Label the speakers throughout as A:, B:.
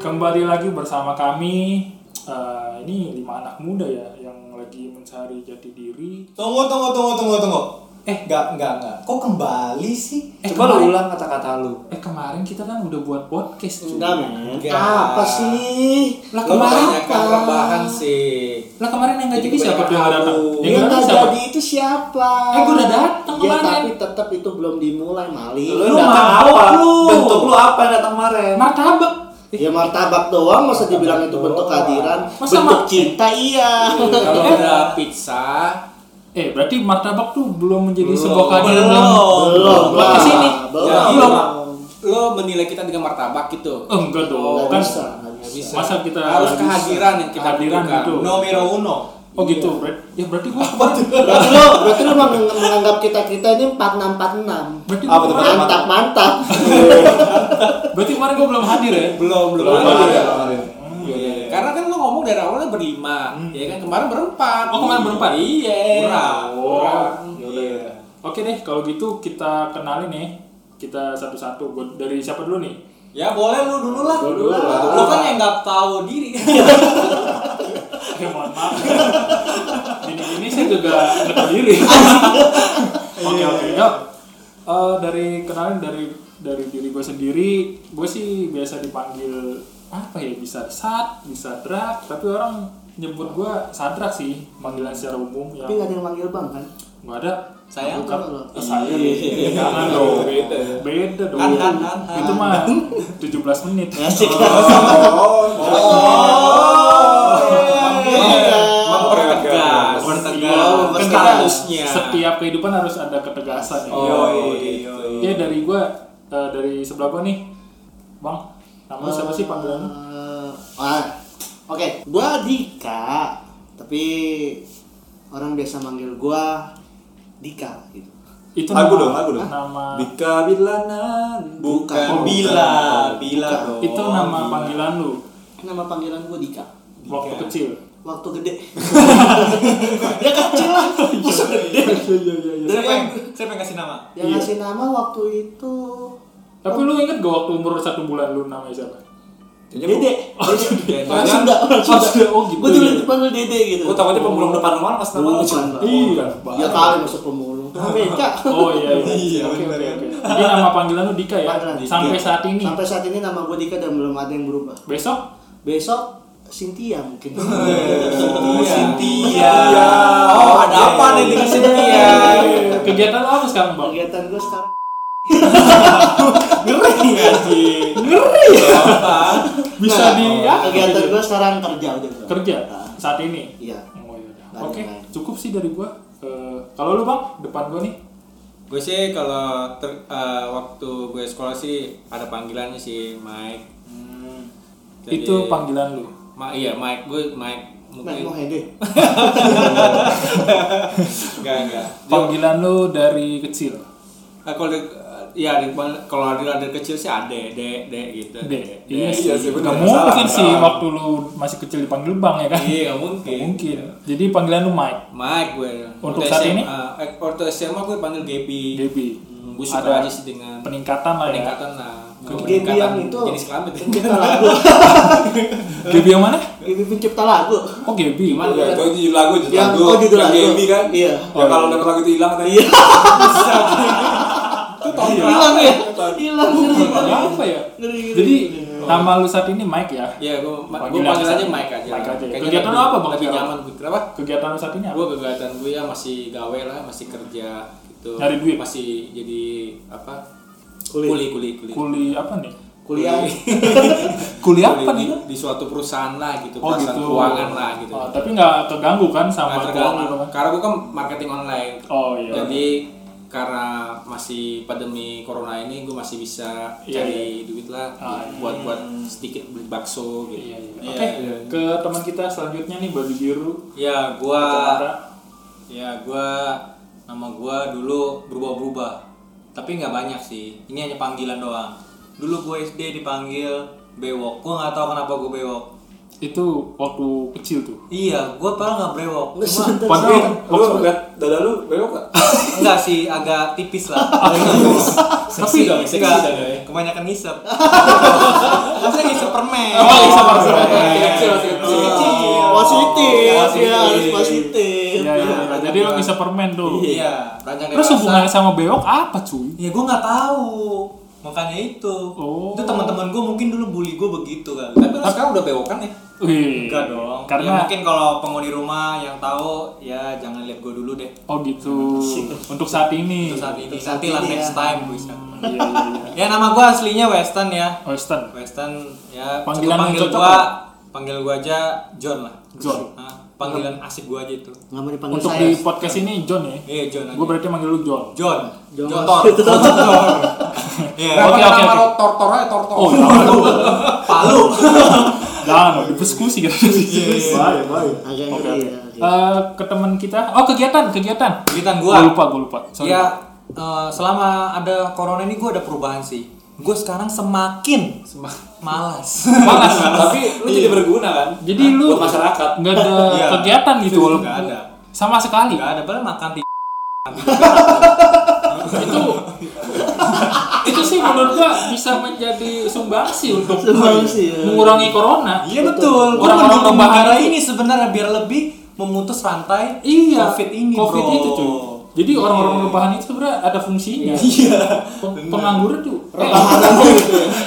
A: kembali lagi bersama kami. Eh, ini lima anak muda ya yang lagi mencari jati diri.
B: Tunggu, tunggu, tunggu, tunggu, tunggu.
A: Eh.
B: enggak, enggak, enggak. Kok kembali sih?
A: Eh,
C: Coba
A: kemarin-
C: lo ulang kata-kata lu.
A: Eh kemarin kita kan udah buat podcast cuy.
C: Enggak, men.
B: Enggak.
C: Apa sih?
A: Lah
B: Lu
A: kemarin
B: kebanyakan rebahan sih.
A: lah kemarin yang nggak jadi
B: Jadi
A: siapa
B: banyak
A: tuh yang nggak datang?
B: tahu.
A: Yang
C: Yang
A: nggak
C: tak
A: datang siapa?
C: jadi itu siapa?
A: Eh, gua udah datang
C: Ya,
A: kemarin.
C: tapi tetap itu belum dimulai, Mali.
A: Lu
C: Lu
A: mabok lu.
C: Bentuk lu apa yang datang kemarin?
A: Martabak.
C: Ya martabak doang masa dibilang itu bentuk kehadiran.
A: Masa
C: bentuk
A: ma-
C: cinta iya.
B: Kalau ada pizza,
A: Eh berarti martabak tuh belum menjadi
B: Belum.
A: sebuah keadilan
B: Belum.
C: belum.
A: Buat kesini.
C: Belum.
B: Jadi,
A: Belum.
B: lo menilai kita dengan martabak gitu.
A: Eh, enggak dong.
B: Oh,
C: Nggak
A: kan
C: bisa, nggak
B: Nggak
C: bisa.
B: bisa.
A: Masa kita
B: harus
A: nggak bisa.
B: kehadiran yang kita
A: Kehadiran
B: butuhkan.
A: gitu.
B: Nomero uno.
A: Oh gitu. Ber- Ya berarti gua
C: Berarti lu, berarti lu meng- menganggap kita-kita ini 4646.
A: berarti
B: Apa
A: gua
B: tuh,
A: kemarin-
B: Pak?
C: Mantap, mantap.
A: berarti kemarin gua belum hadir ya.
B: Belum, belum.
A: Belum
B: ada.
A: ada.
B: Hmm, iya, iya. Karena kan lo ngomong dari awalnya berlima, ya kan kemarin berempat.
A: Oh, kemarin berempat?
B: Iya.
A: Kurang.
B: Kurang.
A: Ya udah.
B: Iya.
A: Oke deh kalau gitu kita kenalin nih kita satu-satu Gua- dari siapa dulu nih?
B: Ya boleh lu dulu lah.
A: Gua dulu lah.
B: Lu kan yang nggak tahu diri.
A: Ya mohon maaf. Ini ini saya juga nggak tahu diri. Oke oke ya. Eh, dari kenalin dari dari diri gue sendiri, gue sih biasa dipanggil apa ya bisa sat, bisa drak, tapi orang nyebut gue sadrak sih panggilan secara umum ya. yang
C: Tapi nggak ada yang manggil Bang kan?
A: nggak ada
B: Sayang
A: Bukan.
C: kalau-
A: Eh, saya jangan dong beda beda dong
B: Han, han, han, han.
A: itu mah 17 menit
B: Oh,
C: iya.
B: mempertegas,
A: Iya,
B: mempertegas,
A: kan
B: kan
A: kita-
B: harusnya.
A: setiap kehidupan harus ada ketegasan ya.
B: Oh,
A: iya.
B: iya,
A: Ya dari gua eh, dari sebelah gua nih. Bang, nama lu siapa sih panggilan lu?
C: Eh, ah, Oke, gua Dika, tapi orang biasa manggil gua Dika gitu.
A: Itu
D: Aku dong, aku dong.
A: Nama
D: Dika Bilanan.
C: Bukan.
B: Bukan bila, bila
C: Bukan.
B: dong.
A: itu nama
B: Bila.
A: panggilan lu
C: Nama panggilan gua Dika.
A: waktu kecil.
C: Waktu gede. ya kecil lah, masa gede.
B: Siapa yang siapa yang kasih nama?
C: Yang
A: Iya.
C: ngasih nama waktu itu
A: Tapi lu inget gak waktu umur satu bulan lu namanya siapa?
C: Dede.
B: Oh,
C: Orang
B: Jangan.
C: Sunda,
A: Oh,
C: orang
A: Sunda.
C: Sunda.
A: Oh, gitu
C: Gua dulu
A: ya.
C: dipanggil Dede gitu.
D: Gue takutnya pemulung depan rumah mas nama
B: Oh,
D: lu.
C: Bukan, Bang.
A: Iya,
C: Ya kali masuk pemulung. Beca.
A: Oh iya iya.
B: Iya,
A: Oke
B: bener
A: oke
B: ya.
A: oke. Jadi nama panggilan lu Dika ya?
C: Panggilan Dika.
A: Sampai saat ini.
C: Sampai saat ini nama gue Dika dan belum ada yang berubah.
A: Besok
C: Besok Cynthia mungkin.
B: Oh,
A: Iya.
B: Cynthia.
D: Cynthia.
B: Oh, ada apa nih dengan Cynthia?
A: iya, Kegiatan lo apa sekarang, Bang?
C: Kegiatan gue sekarang
B: Ngeri anjing.
A: Ngeri.
B: Apa?
A: Bisa
C: Nah,
A: di ya,
C: kegiatan gue sekarang kerja udah. gua.
A: kerja
C: Ah,
A: saat ini.
C: Iya.
A: Oh, yaudah.
C: Lanjut,
A: Oke,
C: lanjut.
A: cukup sih dari gua. Eh, kalau lu bang, depan gua nih.
B: Gue sih kalau ter- eh, waktu gue sekolah sih ada panggilannya sih Mike. Jadi-
A: Itu panggilan lu.
B: Ma iya Mike gue Mike
C: Mike
B: mungkin.
C: Mohede.
B: Enggak enggak. Dia-
A: Panggilan lu dari kecil.
B: Nah, kalau di- ya di- kalau ada ada kecil sih ade de de gitu.
A: Dek.
B: De.
A: Iya sih.
D: Iya sih,
A: Nggak
D: bener.
A: mungkin
D: Salah,
A: sih
D: salah.
A: waktu lu masih kecil dipanggil bang ya kan?
B: Iya nggak
A: Nggak
B: mungkin.
A: Mungkin. Jadi panggilan lu Mike,
B: Mike gue.
A: Untuk
B: Waktu
A: saat
B: SMA,
A: ini?
B: eh, waktu SMA gue panggil Gaby.
A: Gaby.
B: Hmm, gue
A: Ada
B: suka aja sih dengan
A: Peningkatan lah ya.
B: peningkatan lah.
C: Gaby
B: Peningkatan
C: yang itu.
B: jenis kelamin.
C: Pencipta lagu.
A: Gaby yang mana?
C: Ini pencipta lagu.
A: Oh Gaby.
B: Gimana?
D: Iya, itu judul lagu, judul
C: Yang-
D: lagu.
C: oh, judul
D: Yang
C: lagu.
D: Gaby kan?
C: Iya.
D: Ya kalau dengar lagu itu hilang tadi.
B: Iya. Itu tahun berapa?
C: Hilang ya. Hilang.
A: Apa ya?
C: Ngeri, ngeri.
A: Jadi nama lu saat ini Mike ya?
B: Iya, gue gue
A: Panggilan
B: panggil aja
A: saat-
B: Mike aja.
A: Mike aja.
B: Kayaknya
A: Kegiatan lu
B: lebih-
A: apa, Bang,
B: Lebih
A: sekarang?
B: nyaman gue. Kenapa?
A: Kegiatan lu saat ini apa?
B: Gue kegiatan gue ya masih gawe lah, masih kerja gitu.
A: Nyari duit?
B: Masih jadi apa?
C: Kuli.
B: Kuli, kuli, kuli.
A: Kuli apa nih?
C: Kuliah.
A: Kuli apa
B: di,
A: nih?
B: di suatu perusahaan lah gitu,
A: Oh
B: perusahaan
A: gitu.
B: keuangan lah gitu.
A: Oh, tapi nggak terganggu kan
B: Nggak
A: sama
B: terganggu.
A: keuangan lu kan?
B: Karena gue kan marketing online.
A: Oh iya.
B: Jadi karena masih pandemi corona ini gue masih bisa
A: Iya,
B: cari duit lah
A: Ah,
B: buat buat sedikit beli
A: Iya,
B: bakso gitu.
A: iya.
B: Iya,
A: Oke,
B: iya.
A: ke teman kita selanjutnya nih babi biru.
B: Ya gua
A: Kacamata.
B: ya gua nama gua dulu berubah-berubah. Tapi nggak banyak sih. Ini hanya panggilan doang. Dulu gue SD dipanggil Bewok. Gua nggak tahu kenapa gue Bewok.
A: itu waktu kecil tuh
E: Iya, gue padahal nggak brewok.
C: Nggak
E: Cuma-
C: sebentar.
B: iya.
A: padahal
B: Lu
A: Oh,
B: ngeliat dada lu brewok gak?
E: Enggak sih, agak tipis lah.
A: Seksi dong, seksi
E: enggak,
A: dong ya.
E: Kebanyakan ngisep. Maksudnya ngisep permen.
A: Oh, ngisep
B: iya,
A: permen.
B: Kecil, masih kecil.
E: Kecil.
C: positif ya harus
A: ya,
C: positif
A: ya, ya. jadi lo bisa permen dulu
E: Iya, ranjang
A: terus
E: dewasa.
A: hubungannya sama bewok apa cuy
E: Ya gue nggak tahu. Makanya itu.
A: Oh.
E: Itu teman-teman gue mungkin dulu bully gue begitu kan. Tapi lu sekarang udah bewokan ya?
A: Wih,
E: Enggak dong. Ya,
A: karena
E: mungkin kalau penghuni rumah yang tahu ya jangan lihat gue dulu deh.
A: oh gitu untuk saat ini
E: Itu saat ini.
C: Untuk saat
E: Nanti lah
C: ini
E: next
C: ya.
E: time
A: iya iya
E: bisa.
A: Oh, iya
E: Ya nama gue aslinya Weston ya.
A: Western
E: Weston ya
A: Panggilan
E: cukup
A: yang
E: panggil
A: cocok
E: gua panggil gua aja John lah
A: John.
E: Hah? panggilan asik gua aja itu
C: nggak mau dipanggil
A: untuk
C: saya
A: di podcast ini John ya
E: iya John aja
A: gue berarti manggil lu John
E: John
C: John.
E: Jotor Jotor Iya.
A: Oke, oke,
B: Kenapa
A: oke.
B: lo tortor aja tortor?
A: oh jangan dong
E: Palu
A: jangan dong diskusi gitu
E: Iya,
B: Baik, baik.
C: agak
A: oke
C: ngeri
A: oke
C: ya, oke.
A: Eh, ke teman kita oh kegiatan kegiatan
E: kegiatan gua
A: gue lupa gue lupa sorry
E: ya eh, selama ada corona ini gua ada perubahan sih gua sekarang semakin malas
A: Malas.
B: Tapi lu jadi berguna kan?
A: jadi
B: Hah?
A: lu
B: buat masyarakat.
A: nggak ada
E: Iya.
A: kegiatan gitu
E: Nggak
A: walaupun
E: ada.
A: sama sekali
E: nggak ada padahal makan di
A: itu itu sih menurut gua bisa menjadi sumbangsi untuk
C: Sumbangsi, ya.
A: mengurangi corona
E: iya betul gua
A: Orang-orang
E: mendukung
A: rebahan
E: negara
A: itu.
E: ini sebenarnya biar lebih memutus rantai
A: iya
E: covid ini
A: covid
E: bro.
A: itu cuy jadi orang-orang rebahan itu sebenarnya ada fungsinya
E: Iya.
A: Peng- pengangguran tuh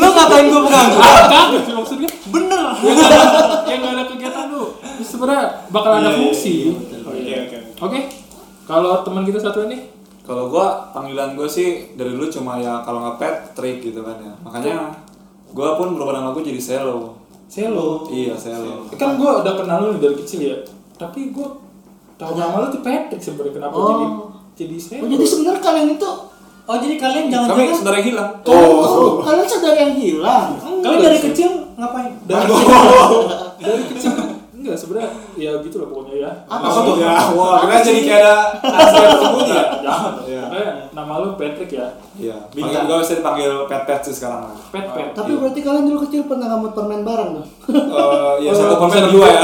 E: Lu ngatain gue pengangguran?
A: Ah, kagak sih maksudnya
E: Bener.
A: yang nggak ada kegiatan tuh sebenarnya bakal ada fungsi
B: Oke, oke.
A: iya, oke kalau teman kita satu ini
B: Kalau gua panggilan gua sih dari dulu cuma ya kalau nggak pet trik gitu kan ya. Makanya gua pun berubah nama gua jadi Selo.
A: Selo
B: Iya, Selo.
A: kan gue udah kenal lu dari kecil ya tapi gue tahu nama lu tuh Patrick sebenarnya kenapa
C: Oh.
A: jadi jadi Selo
C: oh jadi sebenarnya kalian itu
E: Oh jadi kalian
B: Kami
E: jangan-jangan
B: saudara yang hilang.
C: oh kalian sadar yang hilang
A: iya.
E: kalian dari kecil ngapain?
A: dari kecil dari kecil enggak sebenarnya ya gitu lah pokoknya ya
C: Apa
B: Apa
C: sih?
B: tuh? Ya, wah, kita jadi kayak ada asli tersembunyi ya.
A: jangan dong.
B: Iya.
A: Pokoknya nama lu Patrick ya
B: Iya, panggilan gua bisa dipanggil pet pet sih sekarang.
A: Pet Pet
C: tapi berarti kalian dulu kecil pernah ngambil permen bareng dong
B: Eh, ya
A: Oh,
B: satu
A: iya.
B: konser dua ya.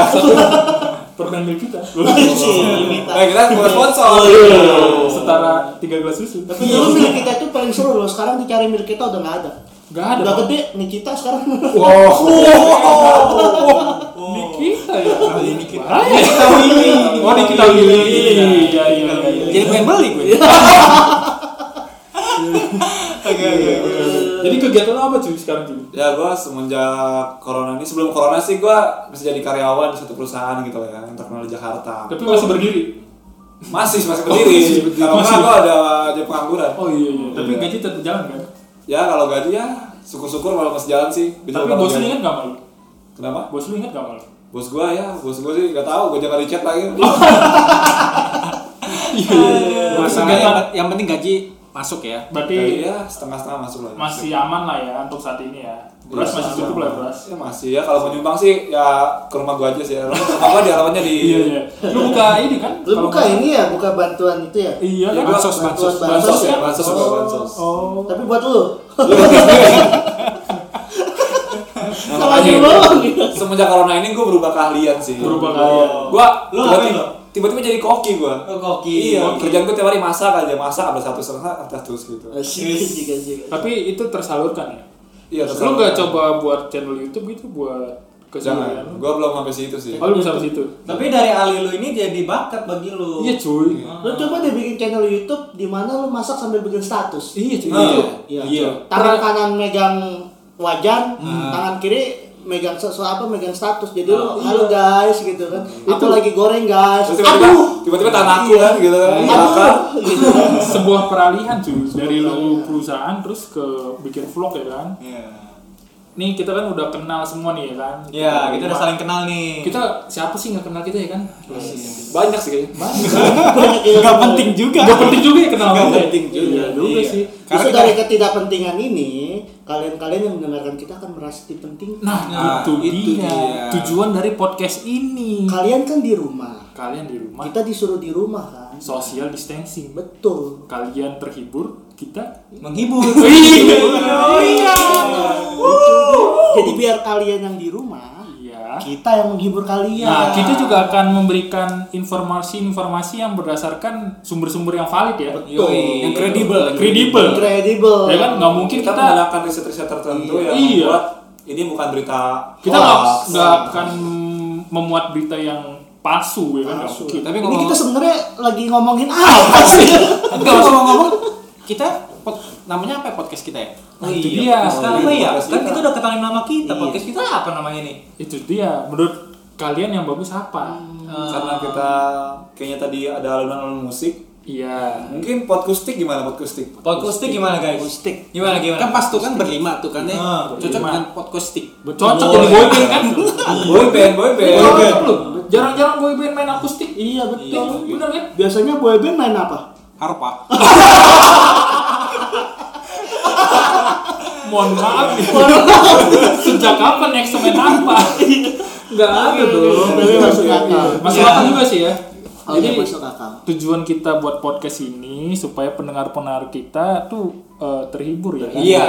A: permen milik kita
C: Iya
B: Eh, kita bukan sponsor. iya.
A: Oh. setara tiga gelas susu
C: tapi dulu milik Iya, kita itu paling seru loh sekarang dicari milik kita udah nggak ada
A: Nggak ada,
C: udah
A: Bang.
C: gede Nikita sekarang
A: Nikita ya
E: Oh, ini kita.
A: Bahaya. oh Nikita Willy iya iya iya
E: Jadi pengen beli gue.
A: Iya, jadi kegiatan lu apa cuy sekarang cuy
B: Ya gue semenjak corona ini sebelum corona sih gue masih jadi karyawan di satu perusahaan gitu ya yang terkenal di Jakarta.
A: tapi masih berdiri
B: Masih masih
A: Oh, masih
B: berdiri.
A: berdiri.
B: Kalau
A: Masih.
B: nggak gue ada jadi pengangguran.
A: oh iya iya tapi
B: Iya.
A: gaji tetap jalan kan
B: Ya kalau gaji ya syukur-syukur kalau masih jalan sih. Bisa
A: tapi
B: kalau
A: bos lu kan?
B: gaji.
A: inget gak malu
B: Kenapa?
A: bos lu inget gak malu
B: Bos gue ya, bos gue sih nggak tahu. Gue jangan di chat lagi.
A: iya,
E: Terus
A: Masa
E: enggak,
A: gaji-
E: yang, yang penting gaji masuk ya.
A: berarti
B: Jadi ya setengah-setengah masuk lah.
A: masih aman lah ya untuk saat ini ya beras
B: Iya,
A: masih cukup lah beras
B: Ya masih ya kalau mau nyumbang sih ya ke rumah gue aja sih. ya. Rumah gue di alamatnya di.
A: iya iya lu buka ini kan
C: lu
A: Kalau
C: buka
A: nggak-
C: ini ya buka bantuan itu ya
A: iya
B: Ya,
A: kan
B: gua-
E: Bansos, bansos.
C: Bansos.
B: Bansos ya, bansos
A: Oh,
B: juga bansos.
A: oh
C: tapi buat lu
B: Nah,
C: Salah
B: makanya
C: juga
B: itu.
C: lo, gitu.
B: Semenjak corona ini gue berubah keahlian sih.
A: Berubah keahlian.
B: Gue
E: Lo ngapain
B: tiba-tiba,
E: lo?
B: tiba-tiba jadi koki gue.
E: Oh, koki.
B: Iya.
E: Koki.
B: Kerjaan gue tiap hari masak aja masak ada satu setengah atas terus gitu.
A: Eh,
C: Asik, asik, asik.
A: tapi itu tersalurkan ya
B: Iya.
A: lu
B: terserah.
A: nggak coba buat channel YouTube gitu buat kesalahan
B: Jangan. Gue belum sampai situ sih.
A: oh lu sampai situ
E: Tapi dari Ali lu ini jadi bakat bagi lu.
A: iya cuy
C: Lu coba deh bikin channel YouTube di mana lu masak sambil bikin status.
A: iya cuy
B: Iya.
C: Iya.
B: Iya.
C: Tangan kanan megang wajan, tangan kiri megang sesuatu apa megang status. Jadi lu halo guys gitu kan. Aku lagi goreng guys.
B: Terus tiba-tiba,
C: Aduh.
B: tiba-tiba tanah aku
A: Iya.
B: kan gitu kan. Bakar.
C: Aduh. Gitu.
A: sebuah peralihan cuy dari lu perusahaan terus ke bikin vlog ya kan
E: Iya.
A: nih kita kan udah kenal semua nih ya kan
E: Iya, kita udah
A: Cuma-
E: saling kenal nih. Iya,
A: kita siapa sih nggak kenal kita ya kan
B: Banyak sih kayaknya.
C: Banyak yang-
E: Nggak penting juga.
A: nggak penting juga ya kenal
E: Nggak
A: kita ya.
E: penting juga.
A: iya juga
E: Iya.
A: sih
C: Justru
E: Karena
C: dari ketidakpentingan ini, kalian-kalian yang mendengarkan kita akan merasa dipentingkan.
A: nah,
E: Nah,
A: itu,
E: itu
A: dia.
E: dia.
A: tujuan dari podcast ini
C: Kalian kan di rumah.
A: kalian di rumah
C: Kita disuruh di rumah kan.
A: social distancing
C: Betul.
A: kalian terhibur kita
E: Menghibur.
A: Wih, oh iya. Oh.
C: Jadi biar kalian yang di rumah
A: iya kita
C: Kita yang menghibur kalian.
A: Nah, kita juga akan memberikan informasi-informasi yang berdasarkan sumber-sumber yang valid ya.
C: Betul.
A: Yang kredibel, kredibel.
C: Incredible.
A: Ya kan nggak mungkin
B: kita,
A: kita
B: menggunakan riset-riset tertentu
A: Iya.
B: yang
A: Iya.
B: membuat ini bukan berita
A: kita nggak
B: hoax.
A: nggak akan memuat berita yang palsu ya kan. nggak mungkin.
E: Tapi
C: Ini
E: ngomong
C: kita sebenarnya lagi ngomongin apa sih?
E: tapi ngomong-ngomong kita pod- namanya apa ya podcast kita ya?
A: Oh, itu dia.
E: Sekarang
B: Oh,
E: apa
B: iya,
E: ya?
B: podcast
E: Kan
B: kita.
E: kita udah kenalin nama kita.
C: Iya.
E: Podcast kita apa namanya nih?
A: Itu dia. Menurut kalian yang bagus apa?
B: karena kita kayaknya tadi ada alunan-alunan musik
A: Iya.
B: mungkin podkustik gimana podkustik
E: Podcasting gimana guys?
C: Acoustic.
E: Gimana gimana? Kan pas tuh kan berlima tuh kan ya. Cocok
A: berlima.
E: dengan podcasting.
A: Cocok jadi boyband kan?
B: boyband boyband
A: Cocok lu. Jarang-jarang boyband main akustik.
C: iya
A: Betul,
C: betul.
A: bener kan?
C: Biasanya boyband main apa?
E: Harpa.
A: Mohon maaf Iya. nih. Sejak kapan next main apa? Nggak ada dong.
C: Tapi masuk akal.
A: Masuk
E: Iya.
A: akal juga sih ya.
C: Oh,
A: Jadi
C: iya, masuk akal.
A: tujuan kita buat podcast ini supaya pendengar-pendengar kita tuh eh, terhibur ya. kan?
E: Iya,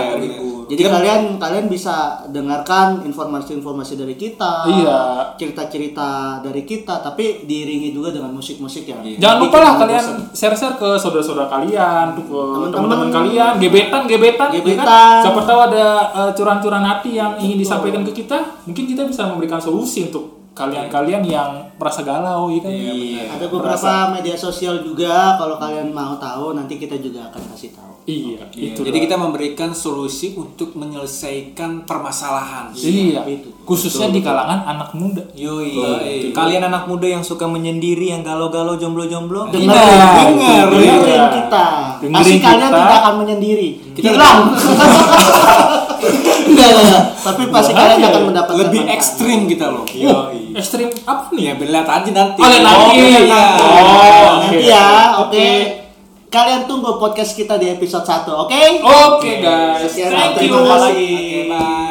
C: Jadi kan kalian kalian bisa dengarkan informasi-informasi dari kita,
A: Iya.
C: cerita-cerita dari kita, tapi diiringi juga dengan musik-musik ya. yang
A: Iya. Jangan lupa lah
C: bikin
A: kalian
C: bosan.
A: share-share ke saudara-saudara kalian, tuh ke
C: Teman-teman.
A: teman-teman kalian, gebetan, gebetan, ya kan?
C: Gebetan.
A: Siapa tahu ada eh, curahan-curahan hati yang ingin disampaikan ke kita, mungkin kita bisa memberikan solusi untuk kalian-kalian yang merasa galau, ya kan?
E: Iya.
C: Ada beberapa media sosial juga kalau kalian mau tahu nanti kita juga akan kasih tahu.
A: Iya, itu. lah.
E: Jadi kita memberikan solusi untuk menyelesaikan permasalahan.
A: Iya,
C: Itu.
A: khususnya di kalangan anak muda.
E: Yoi. Kalian anak muda yang suka menyendiri, yang galau-galau, jomblo-jomblo.
C: Iya, dengerin, dengerin Iya, kita.
A: Iya. Dengerin
C: Pasti kalian
A: kita.
C: tidak akan menyendiri. Hilang. Enggak, enggak, enggak. Tapi pasti
A: Bahaya
C: kalian
A: ya.
C: akan mendapatkan
E: Lebih
C: manfaat.
E: ekstrim kita loh.
B: Iya,
A: Wah, ekstrim apa nih?
E: Ya belat aja nanti.
A: Oh, lihat nanti.
E: iya.
A: Oh,
C: Nanti
A: oke.
C: ya, oke. Kalian tunggu podcast kita di episode 1, oke?
A: Oke guys,
C: Sekian,
A: thank you.
C: terima kasih.
E: Oke, bye.